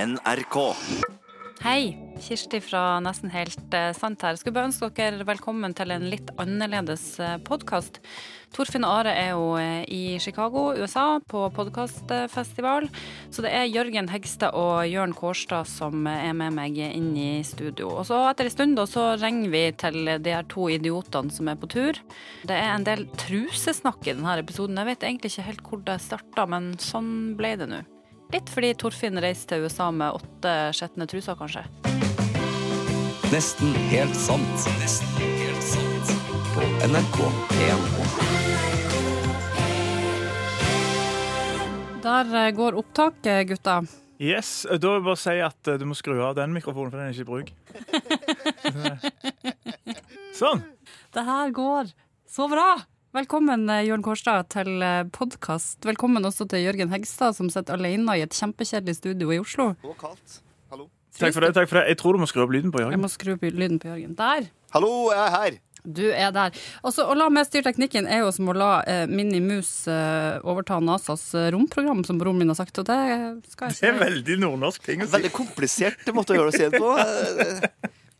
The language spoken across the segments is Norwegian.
NRK. Hei, Kirsti fra Nesten helt eh, sant her. Skulle bare ønske dere velkommen til en litt annerledes podkast. Torfinn og Are er jo eh, i Chicago, USA, på podkastfestival. Så det er Jørgen Hegstad og Jørn Kårstad som eh, er med meg inn i studio. Og så etter en stund da, så ringer vi til de her to idiotene som er på tur. Det er en del trusesnakk i denne episoden. Jeg vet egentlig ikke helt hvor det starta, men sånn ble det nå. Litt fordi Torfinn reiste til USA med åtte skjetne truser, kanskje. Nesten helt sant. Nesten helt sant. På NRK1. Der eh, går opptaket, gutta. Yes, Da vil jeg bare si at eh, du må skru av den mikrofonen, for den er ikke i bruk. Sånn. Det her går så bra! Velkommen, eh, Jørn Kårstad, til podkast. Velkommen også til Jørgen Hegstad, som sitter alene i et kjempekjedelig studio i Oslo. Og kaldt. Hallo. Takk for det. takk for det. Jeg tror du må skru opp lyden på Jeg Jørgen. må skru opp lyden på Jørgen. Der! Hallo, jeg er her. Du er der. Altså, å la meg styre teknikken er jo som å la eh, Minni Mus eh, overta NASAs eh, romprogram, som broren min har sagt, og det skal Det jeg er ikke veldig nordnorsk ting å si. Veldig komplisert måte å gjøre det på. Eh,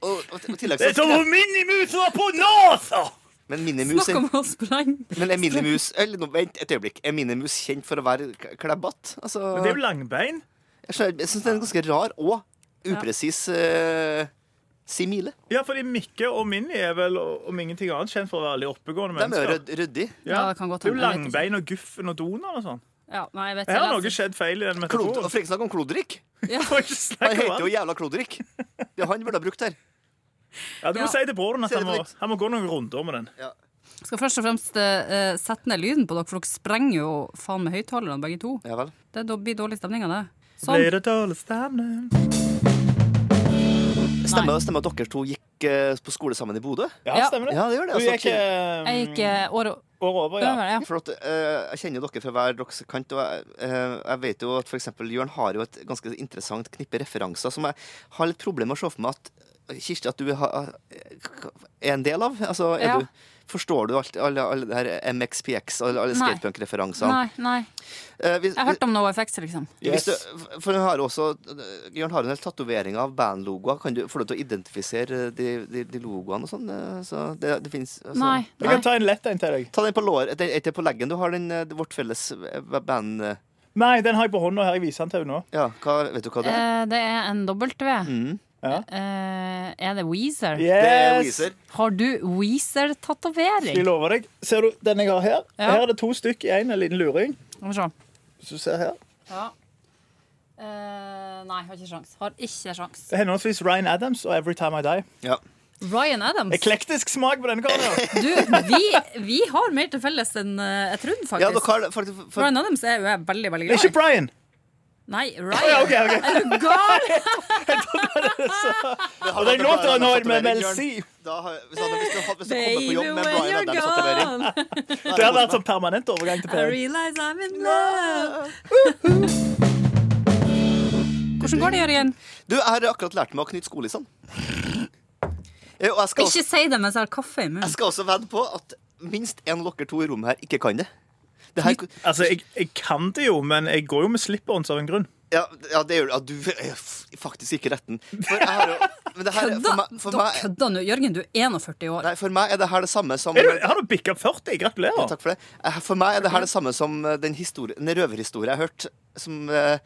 Og, og, og i tillegg Det er som så om Minimusen var på NASA! Men Minimus Snakk er, om å sprenge! men er Minimus eller, nå, Vent et øyeblikk. Er Minimus kjent for å være k- klebatt? Altså, Men det er jo langbein. jeg skjønner- jeg syns det er en ganske rar og upresis eh, simile. Ja, fordi Mikke og Minni er vel og- om ingenting annet kjent for å være veldig oppegående De er mennesker. ryd- ryddig. Ja, det kan godt det er jo hende. Jeg vet ikke. langbein og Guffen og Donald og sånn. Ja, nei, jeg vet Her jeg har noe skjedd feil i den Klod, og metaforen. for ikke snakk om Klodrik. Får ikke snakke Han om heter jo han. jævla Klodrik. Det er han burde ha brukt her. Ja, Du Ja. må si til broren at Si det han må, på nytt. han må gå noen runder med den. Skal først og fremst eh, sette ned lyden på dere, for dere sprenger jo faen med høyttalerne begge to. Ja vel. Det da- blir dårlig stemning av det. Sånn. Blir det dårlig stemning? Stemmer, stemmer at dere to gikk eh, på skole sammen i Bodø? Ja, Ja. stemmer det. Ja, det gjør det. Du altså. gikk eh, Jeg gikk eh, året året over, ja. over, ja. For at, eh, jeg kjenner dere fra hver deres kant, og jeg, eh, jeg vet jo at for eksempel Jørn har jo et ganske interessant knippe referanser som jeg har litt problemer med å se for meg at eh, Kirsti, at du har, er en del av. Altså, er Ja. du, forstår du alt, alle, alle det her MXPX og alle, alle Nei. skatepunk-referansene? Nei, nei. Eh, hvis- Jeg har hørt om NoFX, liksom. hvis du, for hun har også eh, Jørn har en hel tatovering av bandlogoer. Kan du få lov til å identifisere de, de, de logoene og sånn? eh, Så det, det finnes altså. Nei. Jeg kan nei. ta en lett en til deg. Ta den på lår, er det på leggen du har den, eh, vårt felles eh, band... eh, Nei, den har jeg på hånda her. Jeg viser den til henne nå. Ja, hva, vet du hva det er? Eh, det er en W. Mm. Ja. Eh, er det Weezer? Eh, Det er Yes! Weezer. Har du Jeg Weezer-tatovering? lover deg. Ser du den jeg har her? Ja. Her er det to stykk i en, en liten luring. Skal vi se. Hvis du ser her. Ja. Eh, nei, har ikke sjans. Har ikke sjans. Det er henholdsvis Ryan Adams og Every Time I Die. Ja. Ryan Adams. Eklektisk smak på denne karen. Du, vi, vi har mer til felles enn eh, jeg trodde, ja, dere faktisk. har faktisk for, Ryan Adams er jo jeg veldig, veldig Det er glad i. ikke Brian. Nei, Ja, Ryan. ok, ok. Er du gal? for, Og den låten han har med Mel C. Da har, hvis han hvis du hadde hvis du kommer på Baby, jobb med when Brian you're Adams tatovering gone. Det hadde vært sånn permanent overgang til I Per. realize I'm in love. Hvordan går det, Jørgen? Du, jeg har akkurat lært meg å knytte skolissene. Eh, Og jeg skal, også, Ikke si det mens jeg har kaffe i jeg munnen. skal også vedde på at minst en av dere to i rommet her ikke kan det. det her, Altså, jeg, jeg kan det jo, men jeg går jo med slipperons av en grunn. ja, ja, det gjør ja, du. er f- faktisk ikke retten. For jeg har jo men det her, for meg, for, Da meg, kødda nå. Jørgen, du er 41 år. nei, for meg er det her det samme som Er du, har du bikka 40? Ja, Gratulerer. takk for det. Eh, For meg er det her det samme som eh, den, historie- den røverhistorien jeg har hørt. Som, eh,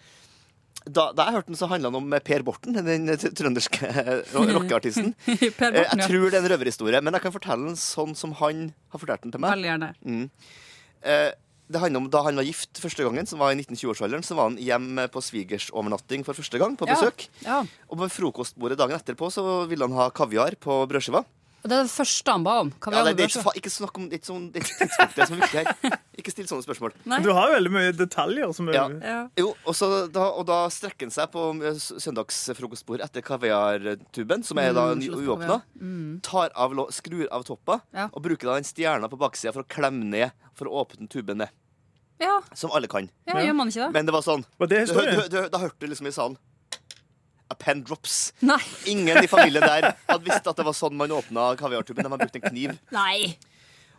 da, da jeg hørte den, så handla den om eh, Per Borten, den eh, tr- trønderske eh, ro- rockeartisten. Per Eh, Jeg Borten, ja. tror det er en røverhistorie, men jeg kan fortelle den sånn som han har fortalt den til meg. Veldig gjerne. Mm. Eh, Det handler om Da han var gift første gangen, som var i 1920-årsalderen, så var han hjem på svigersovernatting for første gang, på Ja, besøk. Ja. Og på frokostbordet dagen etterpå så ville han ha kaviar på brødskiva. Og det er det første han ba om. Kan vi Ja, ha det, det det er ikke, bra? fa- ikke snakk om det er ikke sånn, det er ikke tidspunktet som er viktig her. Ikke still sånne spørsmål. Nei. Du har jo veldig mye detaljer som er Ja. Ja. Jo, og, så da, og da strekker han seg på eh, s- søndagsfrokostbord etter kaviartuben, som er da Mm, ny- slått uåpna. kaviar. Mm. Tar av, lå- skrur av toppa Ja. og bruker da den stjerna på baksida for å klemme ned for å åpne tuben ned. Ja. Som alle kan. ja, gjør man ikke det? Men det var sånn. Var det Du, hø- du, historien? hø- du, hø- da hørte du liksom i salen A pen drops. Nei. Ingen i familien der hadde visst at det var sånn man åpna kaviartuben. De hadde brukt en kniv. Nei.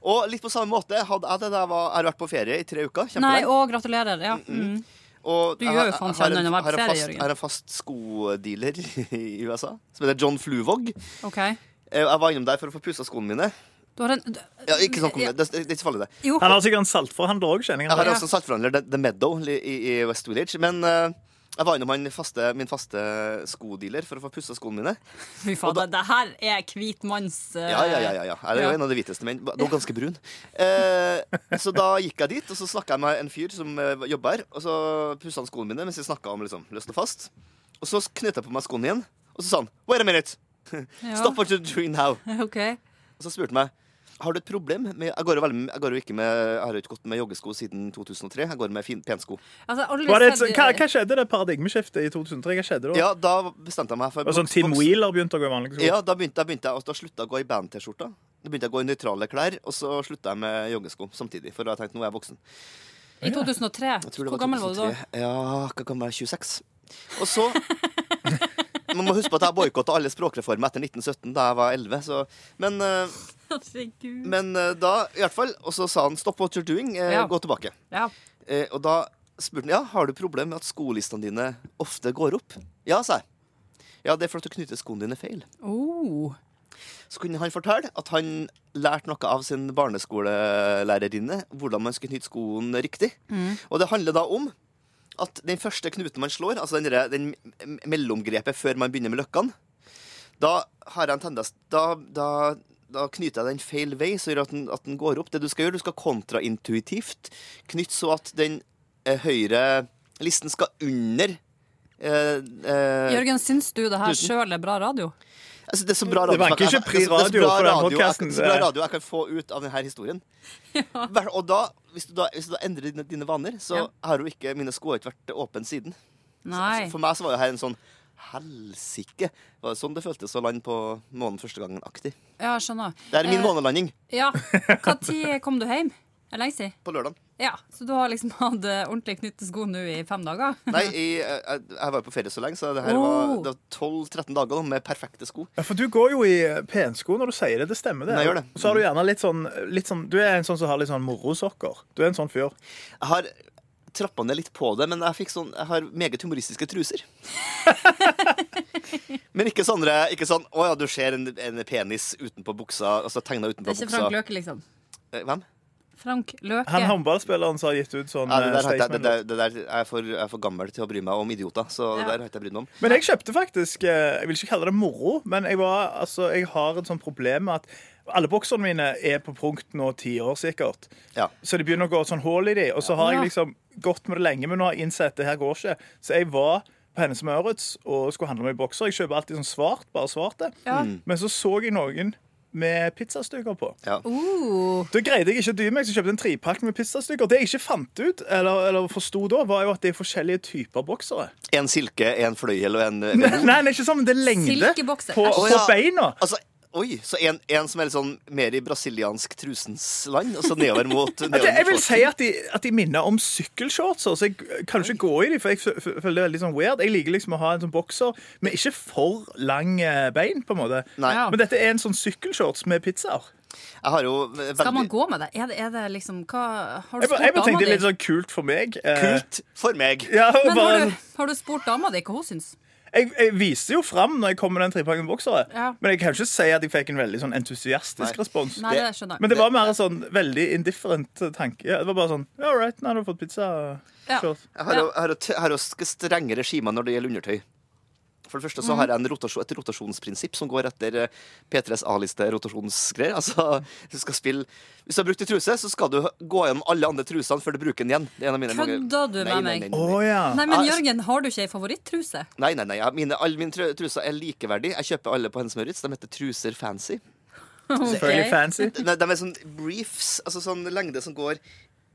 Og litt på samme måte hadde jeg det da jeg var- jeg har vært på ferie i tre uker. Nei, kjempelenge. og gratulerer. Ja. Mm. Og Du jeg gjør jo har- har faen ikke en- annet enn har å en verpsere, fast- Jørgen. Har en fast skodealer i USA som heter John Fluvog. OK. Eh, Jeg var innom der for å få pussa skoene mine. Du har en Ja, ikke sånn, kom- det, det, det er ikke så farlig, det. Jo, Han har sikkert en saltforhandler òg, kjenner Jeg jeg. har også en saltforhandler, The- The Meadow, li- i, i West Village. Men eh, jeg var innom han faste, min faste skodealer for å få pussa skoene mine. fy fader. Det her er hvit manns eh, Ja, ja, ja, ja, ja. Jeg er jo Ja. en av de hviteste menn. Nå ganske brun. Eh, så da gikk jeg dit, og så snakka jeg med en fyr som eh, jobber her. Og så pussa han skoene mine mens vi snakka om liksom, løst og fast. Og så knytta jeg på meg skoene igjen, og så sa han Wait a minute! Ja, Stop what you're doing now! OK. Og så spurte han meg har du et problem med Jeg går jo, veldig, jeg går jo ikke med Jeg har jo ikke gått med joggesko siden 2003. Jeg går med fin, pensko. Altså, aldri Var det et, sånn- sett- hva, hva skjedde det paradigmeskiftet i 2003? Hva skjedde da? Ja, da bestemte jeg meg for Og sånn voks- Tim voks- Wheeler begynte å gå i vanlige sko. Ja, da begynte, da begynte jeg altså, Da slutta jeg å gå i band-T-skjorta. Da begynte jeg å gå i nøytrale klær, og så slutta jeg med joggesko samtidig. For da tenkte jeg nå er jeg voksen. I 2003. Jeg tror det Hvor gammel var du da? 2003. Ja, hva gammel er jeg? 26. Og så Man må huske på at jeg boikotta alle språkreformer etter 1917, da jeg var 11. Så, men, eh, Herregud. men eh, da, i hvert fall. Og så sa han 'stop what you're doing', eh, Ja. gå tilbake. Ja. Eh, og da spurte han ja, har du problem med at skolistene dine ofte går opp. Ja, sa jeg. Ja, det er fordi du knytter skoene dine feil. Oh. Så kunne han fortelle at han lærte noe av sin barneskolelærerinne hvordan man skulle knytte skoen riktig. Og det handler da om at den første knuten man slår, altså den, derre- den m- mellomgrepet før man begynner med løkkene, da har jeg en tendens da, da, da knyter jeg den feil vei, så gjør at den, at den går opp. Det du skal gjøre, du skal kontraintuitivt knytte så at den eh, høyre listen skal under eh, eh, Jørgen, syns du det her Tusen. sjøl er bra radio? Altså, det er så bra radio. Det vanker ikke pris radio for den podcasten. Det er så bra radio jeg kan få ut av denne historien. Vær- Og da, hvis du da, hvis du da endrer dine, dine vaner, så Ja. har jo ikke mine sko har ikke vært åpne siden. Nei. For meg så var jo her en sånn helsike. Det var sånn det føltes å lande på månen første gangen-aktig. Ja, jeg skjønner. Det er min Eh, månelanding Ja. Når kom du hjem? Er det lenge siden? på lørdag. Ja, så du har liksom hatt eh, ordentlig knyttesko nå i fem dager? Nei, jeg, jeg, jeg var jo på ferie så lenge, så det her var, Oh. det var 12-13 dager nå med perfekte sko. Ja, for du går jo i pensko når du sier det. Det stemmer, det. Nei, jeg gjør det. Så har du gjerne litt sånn, litt sånn Du er en sånn som har litt sånn morosokker. Du er en sånn fyr. Jeg har trappa ned litt på det, men jeg, fikk sånn, jeg har meget humoristiske truser. men ikke sånn, ikke sånn Å ja, du ser en, en penis utenpå buksa. Altså tegna Det utenpå er ikke buksa. Frank Løke, liksom? Eh, Hvem? Frank Løke. Han håndballspilleren som har gitt ut sånn Ja, det eh, der, har ikke jeg- det statement. der, det der jeg, er for, jeg er for gammel til å bry meg om idioter, så det der Ja. har ikke jeg brydd meg om. Men jeg kjøpte faktisk eh, Jeg vil ikke kalle det moro, men jeg, var, altså, jeg har et sånt problem med at alle bokserne mine er på punkt nå ti år sikkert. Ja. Så det begynner å gå sånn hull i de, og så har Ja. jeg liksom gått med det lenge, men nå har jeg innsett det her går ikke. Så jeg var på Hennes og Møritz og skulle handle med bokser. Jeg kjøper alltid sånn svart, bare svarte. Ja. Men så så jeg noen med pizzastykker på. Ja. Oh, Da greide jeg ikke å dy meg, så jeg kjøpte en trepakk med pizzastykker. Det jeg ikke fant ut, eller, eller forsto da, var jo at det er forskjellige typer boksere. En silke, en fløyel og en Nei, nei, det er ikke sånn, men det er lengde på, Silkebokser. på Å, ja. beina. Altså, Oi, så en, en som er litt sånn mer i brasiliansk trusens land, og så nedover mot At Altså, jeg, jeg vil shorts. si at de, at de minner om sykkelshorts. Så jeg kan jo ikke gå i dem, for jeg fø- fø- føler det er veldig sånn weird. Jeg liker liksom å ha en sånn bokser med ikke for lang eh, bein, på en måte. Nei, Ja. Men dette er en sånn sykkelshorts med pizzaer. jeg har jo veldig skal man gå med det? Er det, er det liksom hva, Har du Jeg, spurt bare- jeg bare dama tenkte di? litt sånn kult for meg. eh, Kult for meg. Ja, Men bare, sånn- har du, har du spurt dama di hva hun syns? jeg, jeg viser jo fram når jeg kommer med den trepakken boksere, Ja. men jeg kan ikke si at jeg fikk en veldig sånn entusiastisk Nei. respons. Nei, det, Det- skjønner jeg. Men det var mer en sånn veldig indifferent tanke. Ja, det var bare sånn All right, nå har du fått pizza. Ja. Short. Jeg har, jo- jeg har, jo t- jeg har jo sk- strenge regimer når det gjelder undertøy. For det første så har jeg en rotasjon, et rotasjonsprinsipp som går etter eh, P3s A-liste rotasjonsgreier. Altså, du skal spille Hvis du har brukt en truse, så skal du gå gjennom alle andre trusene før du bruker den igjen. Det er en av mine mange- Kødder du Nei, med nei, meg? nei, Å nei, nei. ja. Nei, altså- men Jørgen, har du ikke ei favorittruse? Nei, nei, nei. jeg- Mine, alle mine tru- truser er likeverdige. Jeg kjøper alle på Hennes Møritz. De heter Truser Fancy. Selvfølgelig Ok. fancy. De, de er sånn briefs, altså sånn lengde som går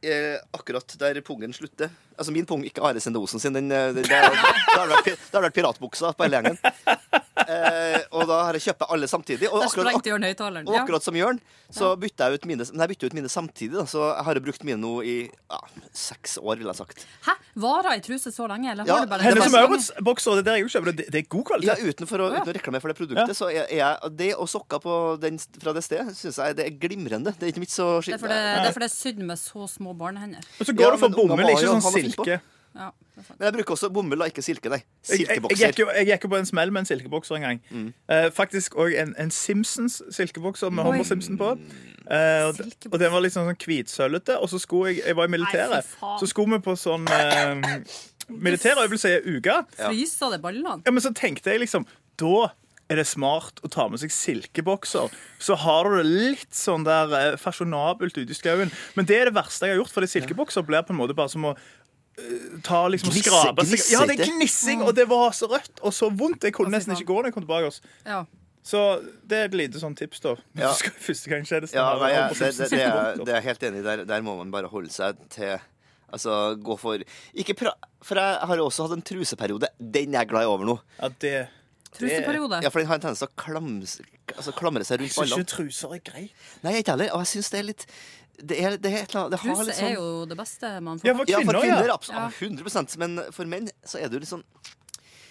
eh, akkurat der pungen slutter. Altså min pung, ikke Are Sende Osen sin. Den, eh, den, det har det har vært, pi- det har vært piratbuksa på hele gjengen. Eh, og da har jeg kjøpt alle samtidig. Og Der akkurat, sprengte Jørn høyttaleren. og Ja. akkurat som Jørn, så bytter jeg ut mine, nei, jeg bytter ut mine samtidig. Da. Så jeg har jo brukt mine nå i ja, seks år, vil jeg ha sagt. Hæ? Varer ei truse så lenge, eller Ja, har du bare Hennes og Det var- Maurits bokser, det der jeg jo kjøper, det, det er god Ja, kvalitet. utenfor å, uten å reklamere for det produktet, så er er jeg Det og sokker på den, fra det stedet, syns jeg det er glimrende. Det er ikke mitt så Det er fordi det, er fordi det er sydd med så små barnehender. Og så Ja, går du for men ungene bomull, var ikke jo- sånn han var fin på. silke. Ja, det er sant. Men jeg bruker også bomull og ikke silke, nei. Jeg, jeg, jeg, Silkebokser. Mm. gikk jo, jeg gikk jo på en smell med en silkebokser en gang. Eh, faktisk òg en, en Simpsons-silkebokser med Oi. Homer Simpson på. Eh, og, Silkebokser. og den var litt sånn sånn hvitsølvete. Og så skulle jeg Jeg var i Nei, militæret. fy faen. Så skulle vi på sånn eh, militærøvelse i ei uke. Fryser det ballene? Ja, men så tenkte jeg liksom Da er det smart å ta med seg silkebokser. Så har du det litt sånn der eh, fasjonabelt ute i skauen. Men det er det verste jeg har gjort, fordi silkebokser blir på en måte bare som å eh, Ta liksom og Gnisse- skrape seg- gnissete. Ja, det er gnissing, og det var så rødt og så vondt. Jeg kunne Å, fy nesten faen. ikke gå når jeg kom tilbake. Oss. Ja. Så det er et lite sånn tips, da. Ja. Skal første gang skjer det Ja, snarere nei, å jeg, ha det, på det, det, er, silkebokser. det er jeg helt enig i. Der, der må man bare holde seg til Altså, gå for Ikke pra... For jeg har også hatt en truseperiode. Den er jeg glad i over nå. Ja, det Truseperiode. Ja, for den har en tendens til å klams, altså, klamre seg rundt Jeg syns ballene. ikke truser er greit. Nei, jeg er ikke heller. Og jeg syns det er litt Det er, det er et eller annet det har Truse litt sånn, er jo det beste man liksom. Ja, får. for Ja, for kvinner, kvinner, ja. Ja. absolutt. 100 Men for menn så er du litt sånn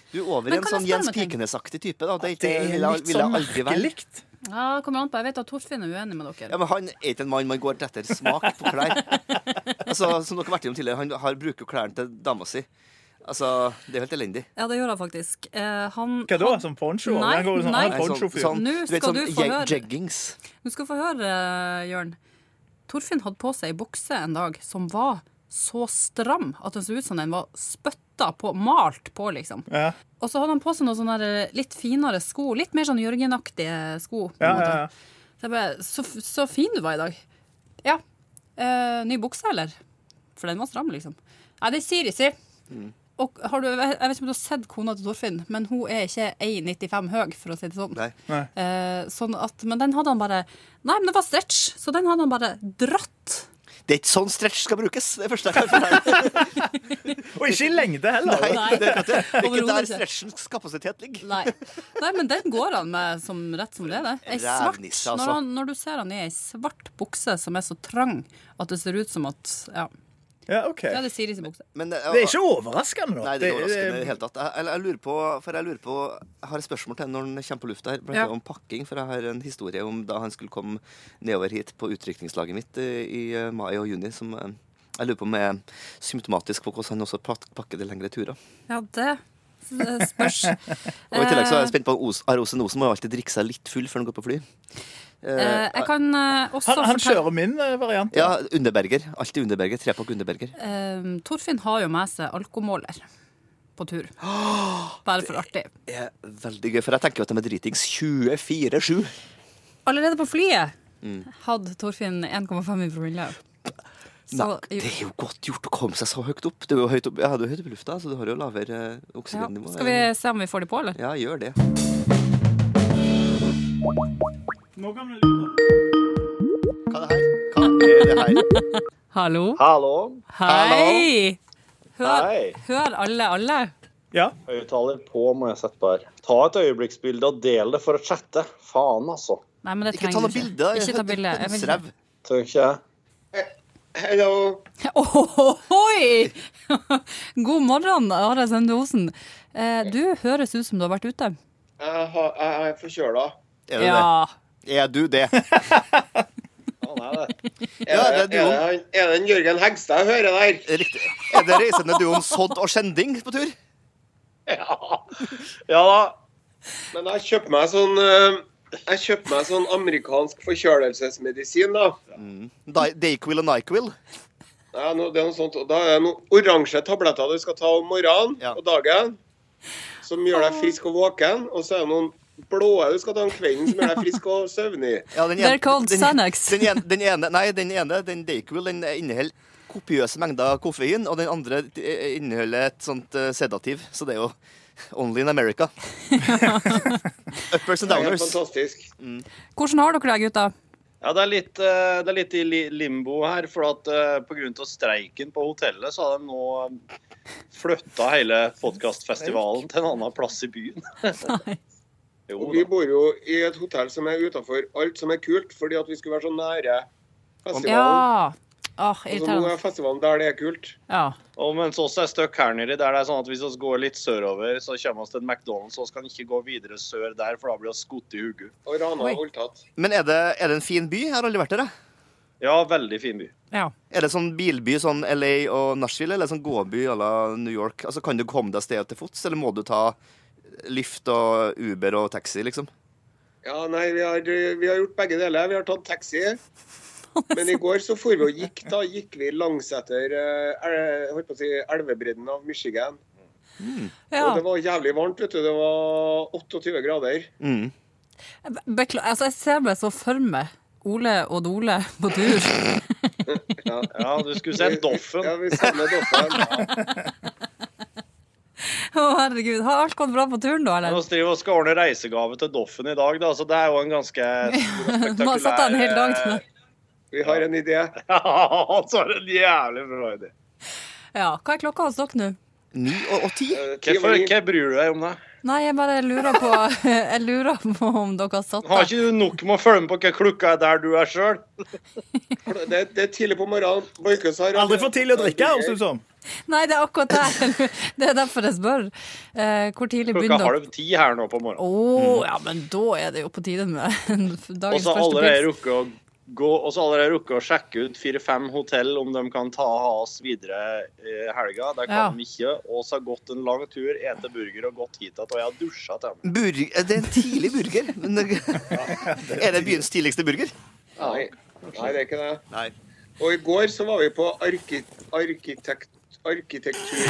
Du er over i Men en kan jeg sånn spørre om Jens en ting? Pikenes-aktig type. da Det, er ikke- Det er ville jeg- litt ville jeg sånn aldri være. merkelig. Ja, kommer an på. Jeg vet at Torfinn er uenig med Ja, dere. men Han er ikke en mann man går etter smak på klær. Altså, som dere har vært innom tidligere, Han har, bruker klærne til dama si. Altså, Det er helt elendig. Ja, det gjør han faktisk. Eh, han Hva da? Som poncho? Nei, Han går sånn, nei. ah, poncho-fyr. Nå du vet, skal sånn du få jeg- høre. jeggings. Du skal få høre, eh, Jørn. Torfinn hadde på seg ei bukse en dag som var så stram at den så ut som den var spytta på, malt på, liksom. Ja. Og så hadde han på seg noen sånne der litt finere sko, litt mer sånn Jørgen-aktige sko. på en Ja, måte. ja, ja. Så jeg bare så, f- så fin du var i dag. Ja. Eh, ny bukse, eller? For den var stram, liksom. Nei, det sier ikke. Mm. Og har du, jeg vet ikke om du har sett kona til Torfinn, men hun er ikke 1,95 høy, for å si det sånn. Nei. Nei. Eh, sånn at, men den hadde han bare Nei, men det var stretch, så den hadde han bare dratt. Det er ikke sånn stretch skal brukes. Det er første jeg kan fortelle. Og ikke i lengde heller. Nei, det er ikke det. Det er ikke Overhodet der ikke. stretchens kapasitet ligger. Nei. Nei, men den går han med som rett som det er. det. Ei svart, Rævnisse, altså. når, han, når du ser han i ei svart bukse som er så trang at det ser ut som at Ja, Ja, ok. ja det er Siris bukse. Men, eh, Det er ikke overraskende, da. Nei, det er ikke overraskende i det hele tatt. Jeg, eller jeg lurer på, for jeg lurer på Jeg har et spørsmål til når han kommer på lufta her, blant Ja. annet om pakking. For jeg har en historie om da han skulle komme nedover hit på utrykningslaget mitt eh, i eh, mai og juni, som eh, jeg lurer på om er symptomatisk på hvordan han også pak- pakker de lengre turer. Ja, det s- spørs. Og i tillegg så er jeg spent på om Os- Are Osen Osen må jo alltid drikke seg litt full før han går på fly. Eh, eh, jeg kan eh, også Han, han fortelle kjører min eh, variant. Sånn Ja, Underberger. Alltid Underberger. Trepakk Underberger. eh, Torfinn har jo med seg alkomåler på tur. Bare for artig. Det er veldig gøy, for jeg tenker jo at de er dritings 24-7. Allerede på flyet Mm. hadde Torfinn 1,5 i promille. Nei, Så- det er jo godt gjort å komme seg så høyt opp. Du er jo høyt opp, ja, du er høyt opp i lufta, så du har jo lavere eh, Ja. oksygennivå. Skal vi se om vi får de på, eller? Ja, gjør det. Hva er det her? Hva er det her? Hallo? Hallo. Hei! Hør, Hei. hør alle, alle. Ja. Høyttaler på, må jeg sette på her. Ta et øyeblikksbilde og del det for å chatte. Faen, altså. Nei, men det Ikke ta trenger noe du bilde. Ikke ta bilde. Jeg vil- Hønserev. Tør ikke jeg. Hello. Ohohoi! God morgen, Are Sende Osen. Eh, Du høres ut som du har vært ute. Jeg, har, jeg er forkjøla. Er du det? Ja. Er du det? Faen er det. Er, Ja, det er det- er, det han- er det en Jørgen Hegstad jeg hører der? Riktig. Er det reisende duoen Sodd og Skjending på tur? Ja. ja da. Men jeg kjøpte meg sånn eh, Jeg kjøpte meg sånn amerikansk forkjølelsesmedisin, da. Di- Dayquil og Nyquil? Ja, no, det er noe sånt. Og da er det noen oransje tabletter du skal ta om morgenen Ja. og dagen, som gjør deg frisk og våken. Og så er det noen blåe du skal ta om kvelden, som gjør deg frisk og søvnig. Ja, den They're called den- Xanax. Den, ene- den ene, nei, den ene, den Dayquil, den inneholder kopiøse mengder koffein, og den andre eh, inneholder et sånt eh, sedativ, så det er jo only in America. Uppers and Det er helt downers. fantastisk. Hvordan har dere det, gutta? Ja, det er litt, eh, det er litt i li- limbo her, for at eh, på grunn til streiken på hotellet, så har de nå eh, flyttet hele podcastfestivalen til en annen plass i byen. Nei. Jo Og vi da. bor jo i et hotell som er utafor alt som er kult, fordi at vi skulle være så nære festivalen. Ja. Åh, Og så nå irriterende. er festivalen der det er kult. Ja. Og mens oss er støkk her nede, der det er sånn at hvis vi går litt sørover, så kommer vi til en McDonald's, og så kan vi ikke gå videre sør der, for da blir vi skutt i hugget. Og Rana Oi. er voldtatt. Men er det, er det en fin by? Jeg har aldri vært der, jeg. Ja, veldig fin by. Ja. Er det sånn bilby sånn LA og Nashville, eller sånn gåby à la New York? Altså, Kan du komme deg stedet til fots, eller må du ta Lyft og Uber og taxi, liksom? Ja, nei, vi har, vi har gjort begge deler. Vi har tatt taxi. Men i går så for vi og gikk, da. Gikk vi langsetter eh, el- holdt på å si, elvebredden av Michigan. ja. Og det var jævlig varmt, vet du. Det var 28 grader. Mm. Bekla altså, jeg ser meg så for meg Ole og Dole på tur. Ja. Ja, du skulle sett Doffen. Ja, vi savner Doffen. Å, herregud. Har alt gått bra på turen, da? Nå eller? driver vi og skal ordne reisegave til Doffen i dag, da, så det er jo en ganske Man har satt av en hel dag eh, til det. Vi har en idé. Ja, han tar en jævlig bra idé. Ja. Hva er klokka hos dere nå? Ni og, og ti? Eh, ti Hvorfor over ni. ikke bryr du deg om det? Nei, jeg bare lurer på Jeg lurer på om dere har satt Har av ikke du nok med å følge med på hva klokka er der du er sjøl? Det, det er tidlig på morgenen. Borchhus har Aldri for tidlig å drikke, altså. høres det ut som. Nei, det er akkurat det. Det er derfor jeg spør. Eh, hvor tidlig Klokka begynner dere? halv ti her nå på Å, morgenen. ja, men da er det jo på tide med Og dagens så første allerede pils. rukke å gå Og så allerede rukke å sjekke ut fire-fem hotell om de kan ta ha oss videre eh, helga. Det kan Ja. de ikke. Og så har gått en lang tur, ete burger og gått hit igjen. Og jeg har dusja til dem. Burg, eh, det er en tidlig burger. Men det, er det byens tidligste burger? Nei. Nei, det er ikke det. Nei. Og i går så var vi på arki arkitekt arkitektur...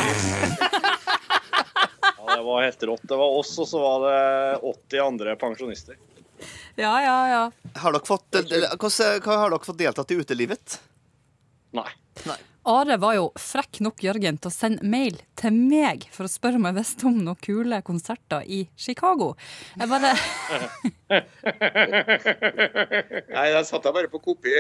Ja, det var helt rått. Det var oss, og så var det 80 andre pensjonister. Ja, ja, ja. Har dere fått, eller, hvordan, hva har dere fått deltatt i utelivet? Nei. Are var jo frekk nok, Jørgen, til å sende mail til meg for å spørre om jeg visste om noen kule konserter i Chicago. Jeg bare Nei, der satt jeg bare på kopi.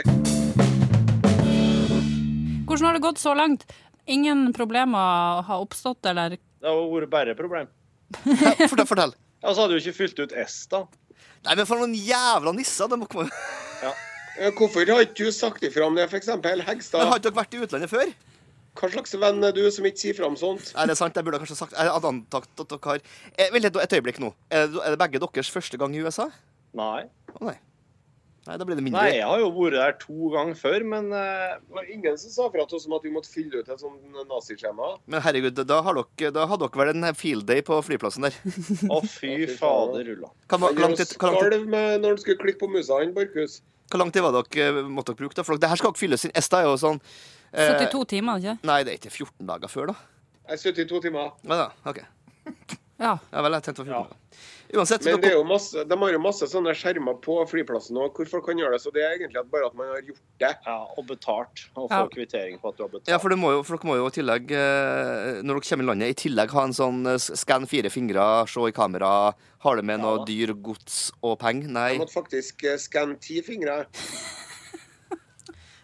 Hvordan har det gått så langt? Ingen problemer har oppstått, eller? Det har vært bare problem. Fortell, fortell. Ja, så hadde du ikke fylt ut S, da. Nei, men for noen jævla nisser! De må komme. Eh, Hvorfor har ikke du sagt ifra om det, f.eks. Men har Hegstad? ikke dere vært i utlandet før? Hva slags venn er du som ikke sier fra om sånt? Nei, det er sant. Jeg burde kanskje sagt Jeg hadde antatt at dere har eh, Vent litt, et øyeblikk nå. Er det, er det begge deres første gang i USA? Nei. Å nei. Nei, da blir det mindre. Nei, jeg har jo vært der to ganger før, men eh, Det var ingen som sa fra til oss om at vi måtte fylle ut et sånt naziskjema. Men herregud, da har dere, da har dere vel en field day på flyplassen der. Å, fy fader rulla. Hva, hva, Han hvor lang gjør tid- oss hvor lang tid- skalv med når han skulle klikke på musa han, Borchhus. hvor lang tid var dere, eh, måtte dere bruke? da? For dere- det her skal dere fylles inn. Esta er jo sånn eh, 72 timer, ikke? Nei, det er ikke 14 dager før, da. Jeg er 72 timer. Ja, da, ok. Ja. Ja vel, jeg tenkte det var 14 dager. Uansett, så Men det er dere, jo masse, de har jo masse sånne skjermer på flyplassen òg, hvor folk kan gjøre det. Så det er egentlig at bare at man har gjort det. Ja, og betalt. Og få Ja. kvittering på at du har betalt. ja, for, det må jo, for dere må jo i tillegg, eh, når dere kommer i landet, i tillegg ha en sånn eh, skann fire fingre, se i kamera, har det med noe dyr, gods og penger? Nei. Jeg måtte faktisk eh, skanne ti fingre.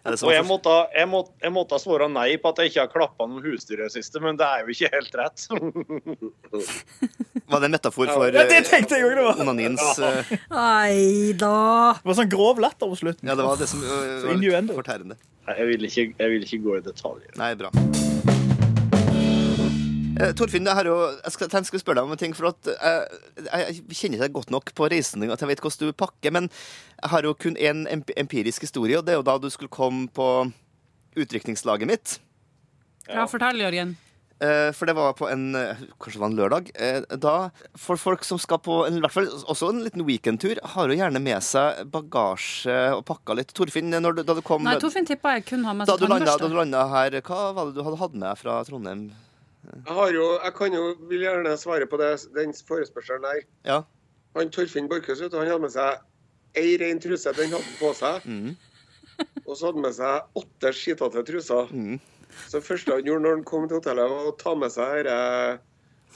Er det og jeg sånn? måtte, jeg, måtte, jeg måtte svare nei på at jeg ikke har klappa noen husdyr i det siste, men det er jo ikke helt rett. Var det en metafor for Ja, det eh, tenkte jeg òg det var. onanins eh, Nei da. Det var sånn grov latter på slutten. Ja, det var det som eh, var litt innuendo. fortærende. Nei, jeg vil ikke, jeg vil ikke gå i detaljer. Nei, bra. Eh, Torfinn, det her er jo, jeg skal, jeg skal spørre deg om en ting. For at eh, jeg, jeg kjenner deg godt nok på reisen at jeg vet hvordan du pakker. Men jeg har jo kun én emp empirisk historie, og det er jo da du skulle komme på utrykningslaget mitt. Ja, fortell, Jørgen. Eh, for det var på en eh, Kanskje det var en lørdag. Eh, da, for folk som skal på en, i hvert fall også en liten weekendtur, har jo gjerne med seg bagasje og pakka litt. Torfinn, når du, da du kom Nei, Torfinn altså, tippa jeg kun har med da seg du landa da du tannbørste. landa her, hva var det du hadde hatt med fra Trondheim? Jeg har jo, jeg kan jo, vil gjerne svare på det, den forespørselen der. Ja. Han Torfinn Borchhus vet du, han hadde med seg ei ren truse, den hadde han på seg. Og så hadde han med seg åtte skitete truser. Så det første han gjorde når han kom til hotellet, var å ta med seg disse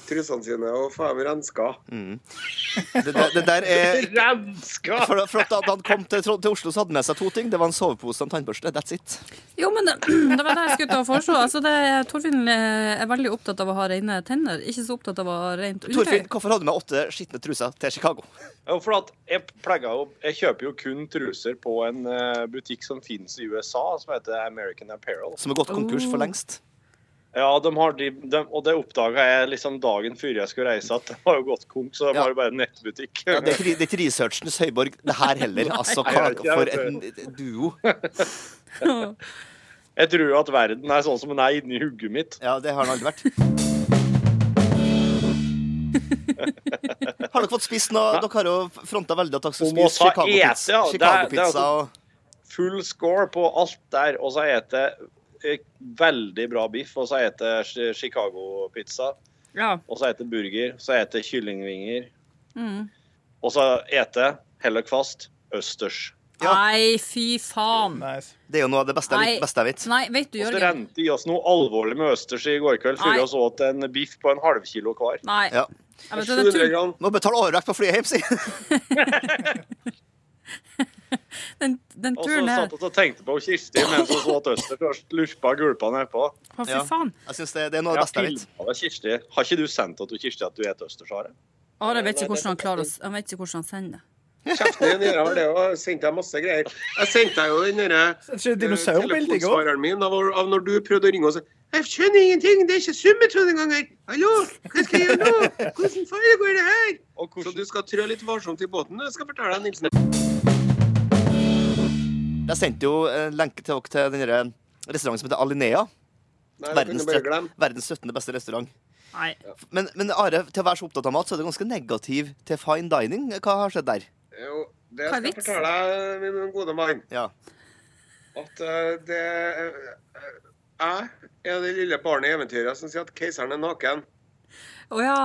trusene sine og få dem renska. Det, det, det der er Renska! for, for at da han kom til, Trond- til Oslo, så hadde han med seg to ting. Det var en sovepose og en tannbørste. That's it. Jo, men det, det var det jeg skulle ta og foreslå. Altså, det, Torfinn eh, er veldig opptatt av å ha rene tenner, ikke så opptatt av å ha rent undertøy. Torfinn, hvorfor hadde du med åtte skitne truser til Chicago? Ja, for at jeg, pleier jo, jeg kjøper jo kun truser på en eh, butikk som finnes i USA, som heter American Apparel. Som har gått konkurs for lengst. Ja, de har de, de, og det oppdaga jeg liksom dagen før jeg skulle reise, at de har jo gått konk, så de Ja. har jo bare nettbutikk. Ja, det, er ikke, det er ikke researchens høyborg, det her heller. Altså, jeg vet hva ikke, for jeg en duo. Jeg tror jo at verden er sånn som den er inni hugget mitt. Ja, det har den aldri vært. Har dere fått spist noe? Dere har jo fronta veldig at dere skal Hun må spise ta ete, Chicago-pizza ja. Det er- Chicago det er pizza altså- og Full score på alt der, og så spiser jeg eh, veldig bra biff, og så spiser jeg Chicago-pizza, Ja. og så spiser jeg burger, så spiser jeg kyllingvinger, og så spiser jeg, hold dere fast, østers. Ja. Nei, fy faen. Nice. Det er jo noe av det beste jeg, Nei. vet- beste jeg vet. Nei, vet du, Og så Jørgen. rente i oss noe alvorlig med østers i går kveld, før Nei. vi så åt en biff på en halvkilo hver. Nei. Ja. Jeg vet, den, 700 tur, gram. Må betale overvekt på flyet hjem, si! den, den Og så turen her satt vi og tenkte på Kirsti mens hun så at østers først lurpa gulpa nedpå. Å, fy Ja. faen. Jeg synes det, det er noe av Ja, det beste jeg vet. filmet det, Kirsti. Har ikke du sendt det til Kirsti at du spiser østers, Are? Are vet ikke hvordan han klarer å s- Han vet ikke hvordan han sender det. Kjeften din gjør vel det, og jeg sendte deg masse greier. Jeg sendte deg jo den derre Det er ikke dinosaurbilde i går. Telefonsvareren min av, av når du prøvde å ringe og si Jeg skjønner ingenting, det er ikke summetråd engang her! Hallo, hva skal jeg gjøre nå? Hvordan foregår det her? Og Så hvordan du skal trø litt varsomt i båten, jeg skal fortelle deg, Nilsen. Jeg sendte jo eh, lenke til dere til den der restauranten som heter Alinea. Nei, det kunne Verdens, du bare glemme. verdens 17. beste restaurant. Nei. Men, men Are, til å være så opptatt av mat, så er du ganske negativ til fine dining. Hva har skjedd der? Jo, det Hva er skal jeg vitsen? fortelle deg, min gode mann, Ja. at eh, det eh, Jeg er det lille barnet i eventyret som sier at keiseren er naken. Å ja.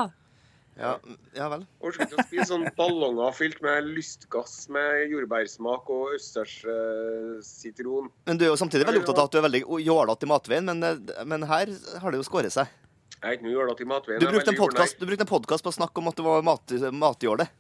Ja, ja vel. Orker ikke å spise sånne ballonger fylt med lystgass med jordbærsmak og eh, østerssitron. Men du er jo samtidig veldig opptatt av at du er veldig jålete i matveien, men, eh, men her har det jo skåret seg. jeg er ikke noe jålete i matveien. Du jeg er brukte en veldig podcast- jordnær. du brukte en podkast på å snakke om at du var mat, matjåle.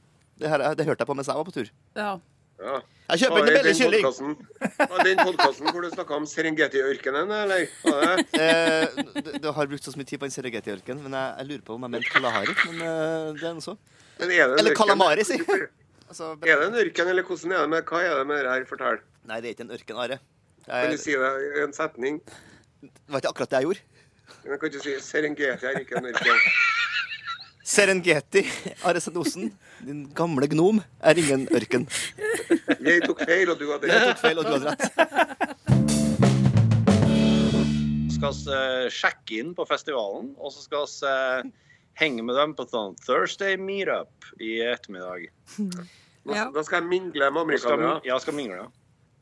Det, her, det hørte jeg på mens jeg var på tur. ja. Ja. Jeg Var kjøper det en billig den kylling! podcasten- Var det den podkasten hvor du snakka om Serengeti-ørkenen, eller? Var det? Eh, du, du har brukt så mye tid på den Serengeti-ørkenen, men jeg, jeg lurer på om jeg mente Kalahari. Men eh, det er noe så. Men er det en Eller ørken? Kalamari, si. Altså, Er det en ørken, eller hvordan er det med Hva er det med det her? Fortell. nei, det er ikke en ørken, Are. Kan Jeg, du si det i en setning? det var ikke akkurat det jeg gjorde. Men kan ikke si Serengeti er ikke en ørken. Serengeti, Are Sendosen, din gamle gnom, er ingen ørken. Jeg tok feil, og du hadde Jeg rett. tok feil, og du hadde rett. skal vi eh, sjekke inn på festivalen, og så skal vi eh, henge med dem på sånn Thursday meetup i ettermiddag. Nå- Ja. Da skal jeg mingle med Og Skal, amerikanere. ja, skal mingle.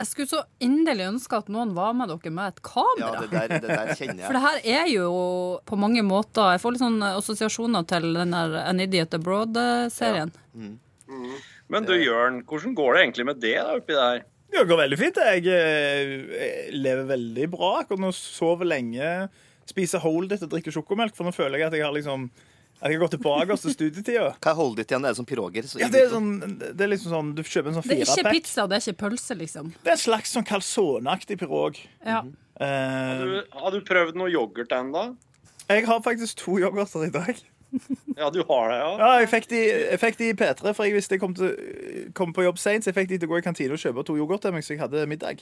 Jeg skulle så inderlig ønske at noen var med dere med et Ja, kamera. det der, det der kjenner For jeg. det her er jo på mange måter Jeg får litt sånn assosiasjoner til den der An Idiot Abroad-serien. Men du Jørn, hvordan går det egentlig med det da oppi der? Det går veldig fint. Jeg, eh, jeg lever veldig bra akkurat nå. Sover lenge, spiser Hold It og drikker sjokomelk, for nå føler jeg at jeg har liksom at jeg har gått tilbake til studietida. Hva er holdet ditt igjen? Det er sånn piroger? så- Ja, det er, sånn, det er liksom sånn Du kjøper en sånn Det er ikke firepack. pizza, det er ikke pølse, liksom. Det er en slags sånn calzoneaktig pirog. Ja. Mhm. Eh, Du, har du prøvd noe yoghurt ennå? jeg har faktisk to yoghurter i dag. Ja, du har det, ja. Ja, jeg fikk de, jeg fikk de i P3, for jeg visste jeg kom, til, kom på jobb seint, så jeg fikk de til å gå i kantina og kjøpe to yoghurt til meg, så jeg hadde middag.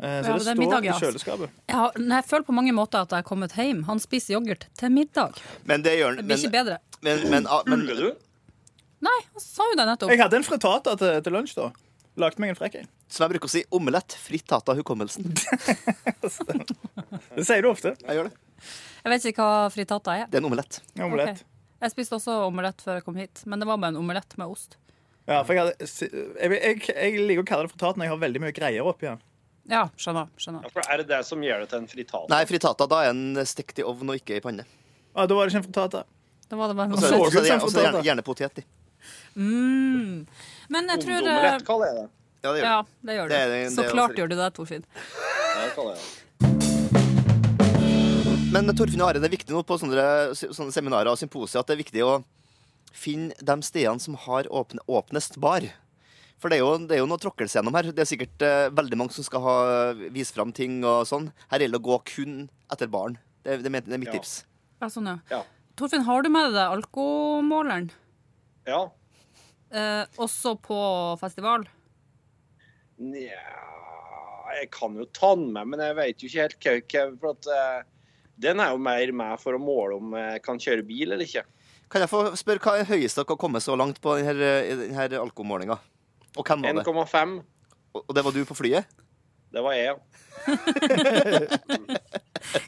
Eh, så Ja, det det, er står middag, ja. i kjøleskapet. Jeg, har, nei, jeg føler på mange måter at jeg har kommet hjem. Han spiser yoghurt til middag. Men det gjør Det blir ikke men, bedre. men, men, ah, men, Huller du? Nei, han sa jo det nettopp. Jeg hadde en frittata til, til lunsj, da. Lagde meg en frekk en. Som jeg bruker å si, omelett fritt tatt av hukommelsen. Det sier du ofte. Jeg gjør det. Jeg vet ikke hva frittata er. Det er en omelett. Omelett. Ok. Jeg spiste også omelett før jeg kom hit, men det var bare en omelett med ost. Ja, for jeg, hadde, jeg, jeg, jeg liker å kalle det frittata når jeg har veldig mye greier oppi den. Ja, skjønner. skjønner. Ja, for er det det som gjør det til en fritat? Nei, frittata, da er en stekt i ovn og ikke i panne. Ah, da var det ikke en frittata. Da var det bare Og så er det, Så og så er det, gull og som så er det gjerne, frittata. gjerne potet i. Mm. Men jeg tror eh, Bondeomelett kaller jeg det. Ja, det gjør Ja, det. det gjør du. Det er det- Så det er klart også gjør du det, Torfinn. Det kaller jeg det. Men Torfinn og Are, det er viktig nå på sånne, sånne seminarer og symposier at det er viktig å finne de stedene som har åpne, åpnest bar. For det er jo, det er jo noe tråkkelse gjennom her. Det er sikkert eh, veldig mange som skal ha, vise fram ting og sånn. Her gjelder det å gå kun etter baren. Det, er- det, er- det er mitt Ja. tips. Ja, sånn, ja. Ja. Torfinn, har du med deg alkomåleren Ja. eh, også på festival? Nja Jeg kan jo ta den med, men jeg vet jo ikke helt hva- hva For at eh, Den er jo mer med for å måle om jeg kan kjøre bil eller ikke. Kan jeg få spørre hva er høyeste dere har kommet så langt på denne, denne alkoholmålinga? Og hvem var det? 1,5. Og og det var du på flyet? Det var jeg, ja.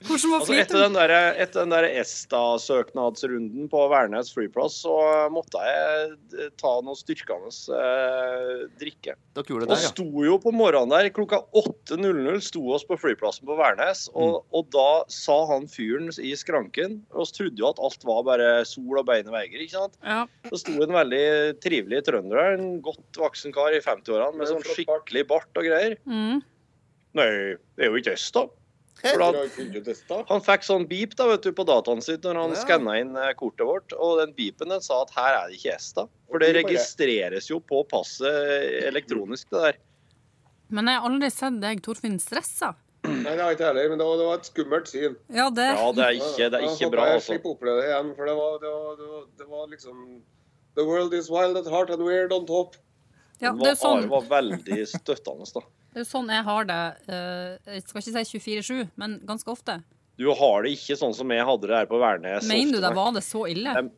Hvordan var Altså, etter flyten? den der, etter den der ESTA-søknadsrunden på Værnes flyplass, så måtte jeg ta noe styrkende eh, drikke. Dere gjorde Og det, ja. sto jo på morgenen der, klokka 8.00 sto oss på flyplassen på Værnes, Mm. og, og da sa han fyren i skranken, og oss trodde jo at alt var bare sol og beine veier, ikke sant? Ja. Så sto en veldig trivelig trønder der, en godt voksen kar i 50-årene med sånn skikkelig bart og greier. Mm. Nei, det er jo ikke oss da. For da, han fikk sånn beep da, vet du, på dataen sitt når han Ja. scannet skanna inn eh, kortet vårt. Og den beepen den sa at her er det ikke ESTA. For det Og du bare- registreres jo på passet eh, elektronisk, det der. Men jeg har aldri sett deg, Torfinn, stressa. Nei, det har jeg ikke heller, men det var, det var et skummelt syn. Ja, det Ja, det er ikke, det er Jeg ikke håper bra, Jeg altså. slipper å oppleve det igjen, for det var, det, var, det, var, det var liksom The world is wild at heart and weird on top. ja, Den det er jo var, sånn, Are var veldig støttende, da. det er jo sånn jeg har det. eh, Jeg skal ikke si 24-7, men ganske ofte. Du har det ikke sånn som jeg hadde det her på Værnes. Mener du ofte, det nei. var det så ille? Nei.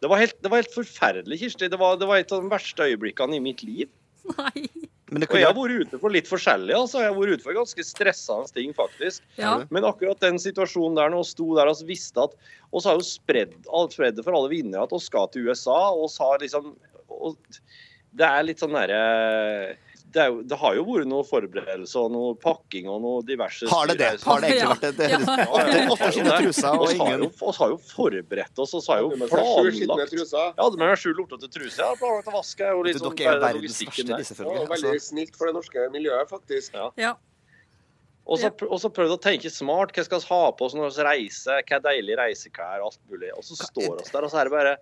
Det var, helt, det var helt forferdelig, Kirsti. Det var, det var et av de verste øyeblikkene i mitt liv. Nei. Men det Og jeg kunne har vært ute for litt forskjellig, altså. Jeg har vært ute for ganske stressende ting, faktisk. Ja. Men akkurat den situasjonen der når vi sto der og vi visste at Og så har jo spredd alt spredd det for alle vinnere at vi skal til USA, og vi har liksom og, Det er litt sånn derre det, er jo- det har jo vært noe forberedelse og noe pakking og noe diverse Har det det? styr her, så- Har det egentlig vært det? det, Ja. det. Ja, ja, ja. Åtte skitne truser og Vi har ingen jo- vi har jo forberedt oss, og så har jo Du må ta sju skitne planlagt truser. Jeg hadde med meg sju lortete truser. Jeg har planlagt å vaske. Jeg er jo Vet litt du, sånn Dere er bare verdens verste logistikken der. Det var nissefølge. veldig Altså. snilt for det norske miljøet, faktisk. ja. Og så pr- og så prøvd å tenke smart. Hva skal vi ha på oss når vi reiser? Hva er deilig reiseklær? og Alt mulig. Og så står vi der, og så er det bare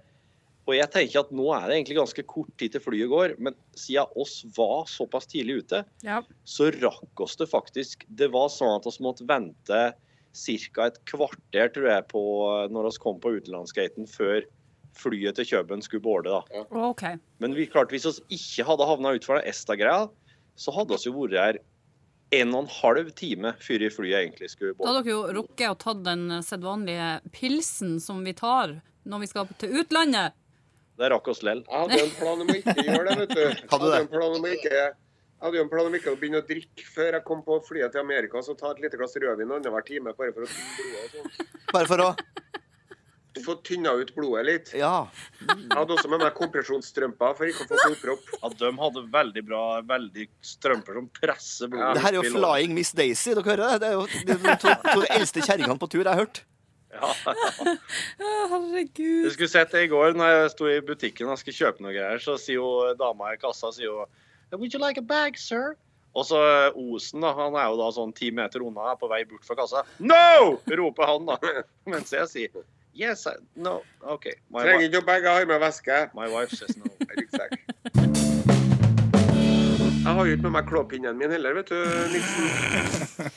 Og jeg tenker at nå er det egentlig ganske kort tid til flyet går, men siden oss var såpass tidlig ute, ja. så rakk oss det faktisk. Det var sånn at oss måtte vente ca. et kvarter, tror jeg, på når oss kom på utenlandsgaten før flyet til Køben skulle boarde, da. OK. Men vi, klart, hvis vi ikke hadde havna utfor den Esta-greia, så hadde vi jo vært her en og en halv time før flyet egentlig skulle Da bort. hadde dere jo rukket å ta den sedvanlige pilsen som vi tar når vi skal til utlandet. Det rakk oss lell. Jeg hadde jo en plan om å ikke gjøre det, vet du. Jeg Hadde du hadde det? jo en plan om å ikke... Jeg hadde jo en plan om ikke å begynne å drikke før jeg kom på flyet til Amerika, så ta et lite glass rødvin annenhver time bare for å tynne blodet, sånn. Bare for å få tynna ut blodet litt. Ja. Jeg hadde også med meg kompresjonsstrømper for ikke å få blodpropp. Ja, de hadde veldig bra veldig strømper som presser blodet. Det her er jo opp i låret. Flying Miss Daisy. Dere hører det? Det er jo de, de to, to de eldste kjerringene på tur jeg har hørt. Du Herregud. skulle sett det i går når jeg sto i butikken og skulle kjøpe noe greier, så sier jo dama i kassa sier jo, Would you like a bag, sir? Og så Osen, da, han er jo da sånn ti meter unna, er på vei bort fra kassa. No! roper han, da. Mens jeg sier Yes, I, no, OK. My, Trenger wi- ikke å bagge, jeg har med veske. my wife says no. Ryggsekk. Jeg har jo ikke med meg klåpinnen min heller, vet du, Nilsen.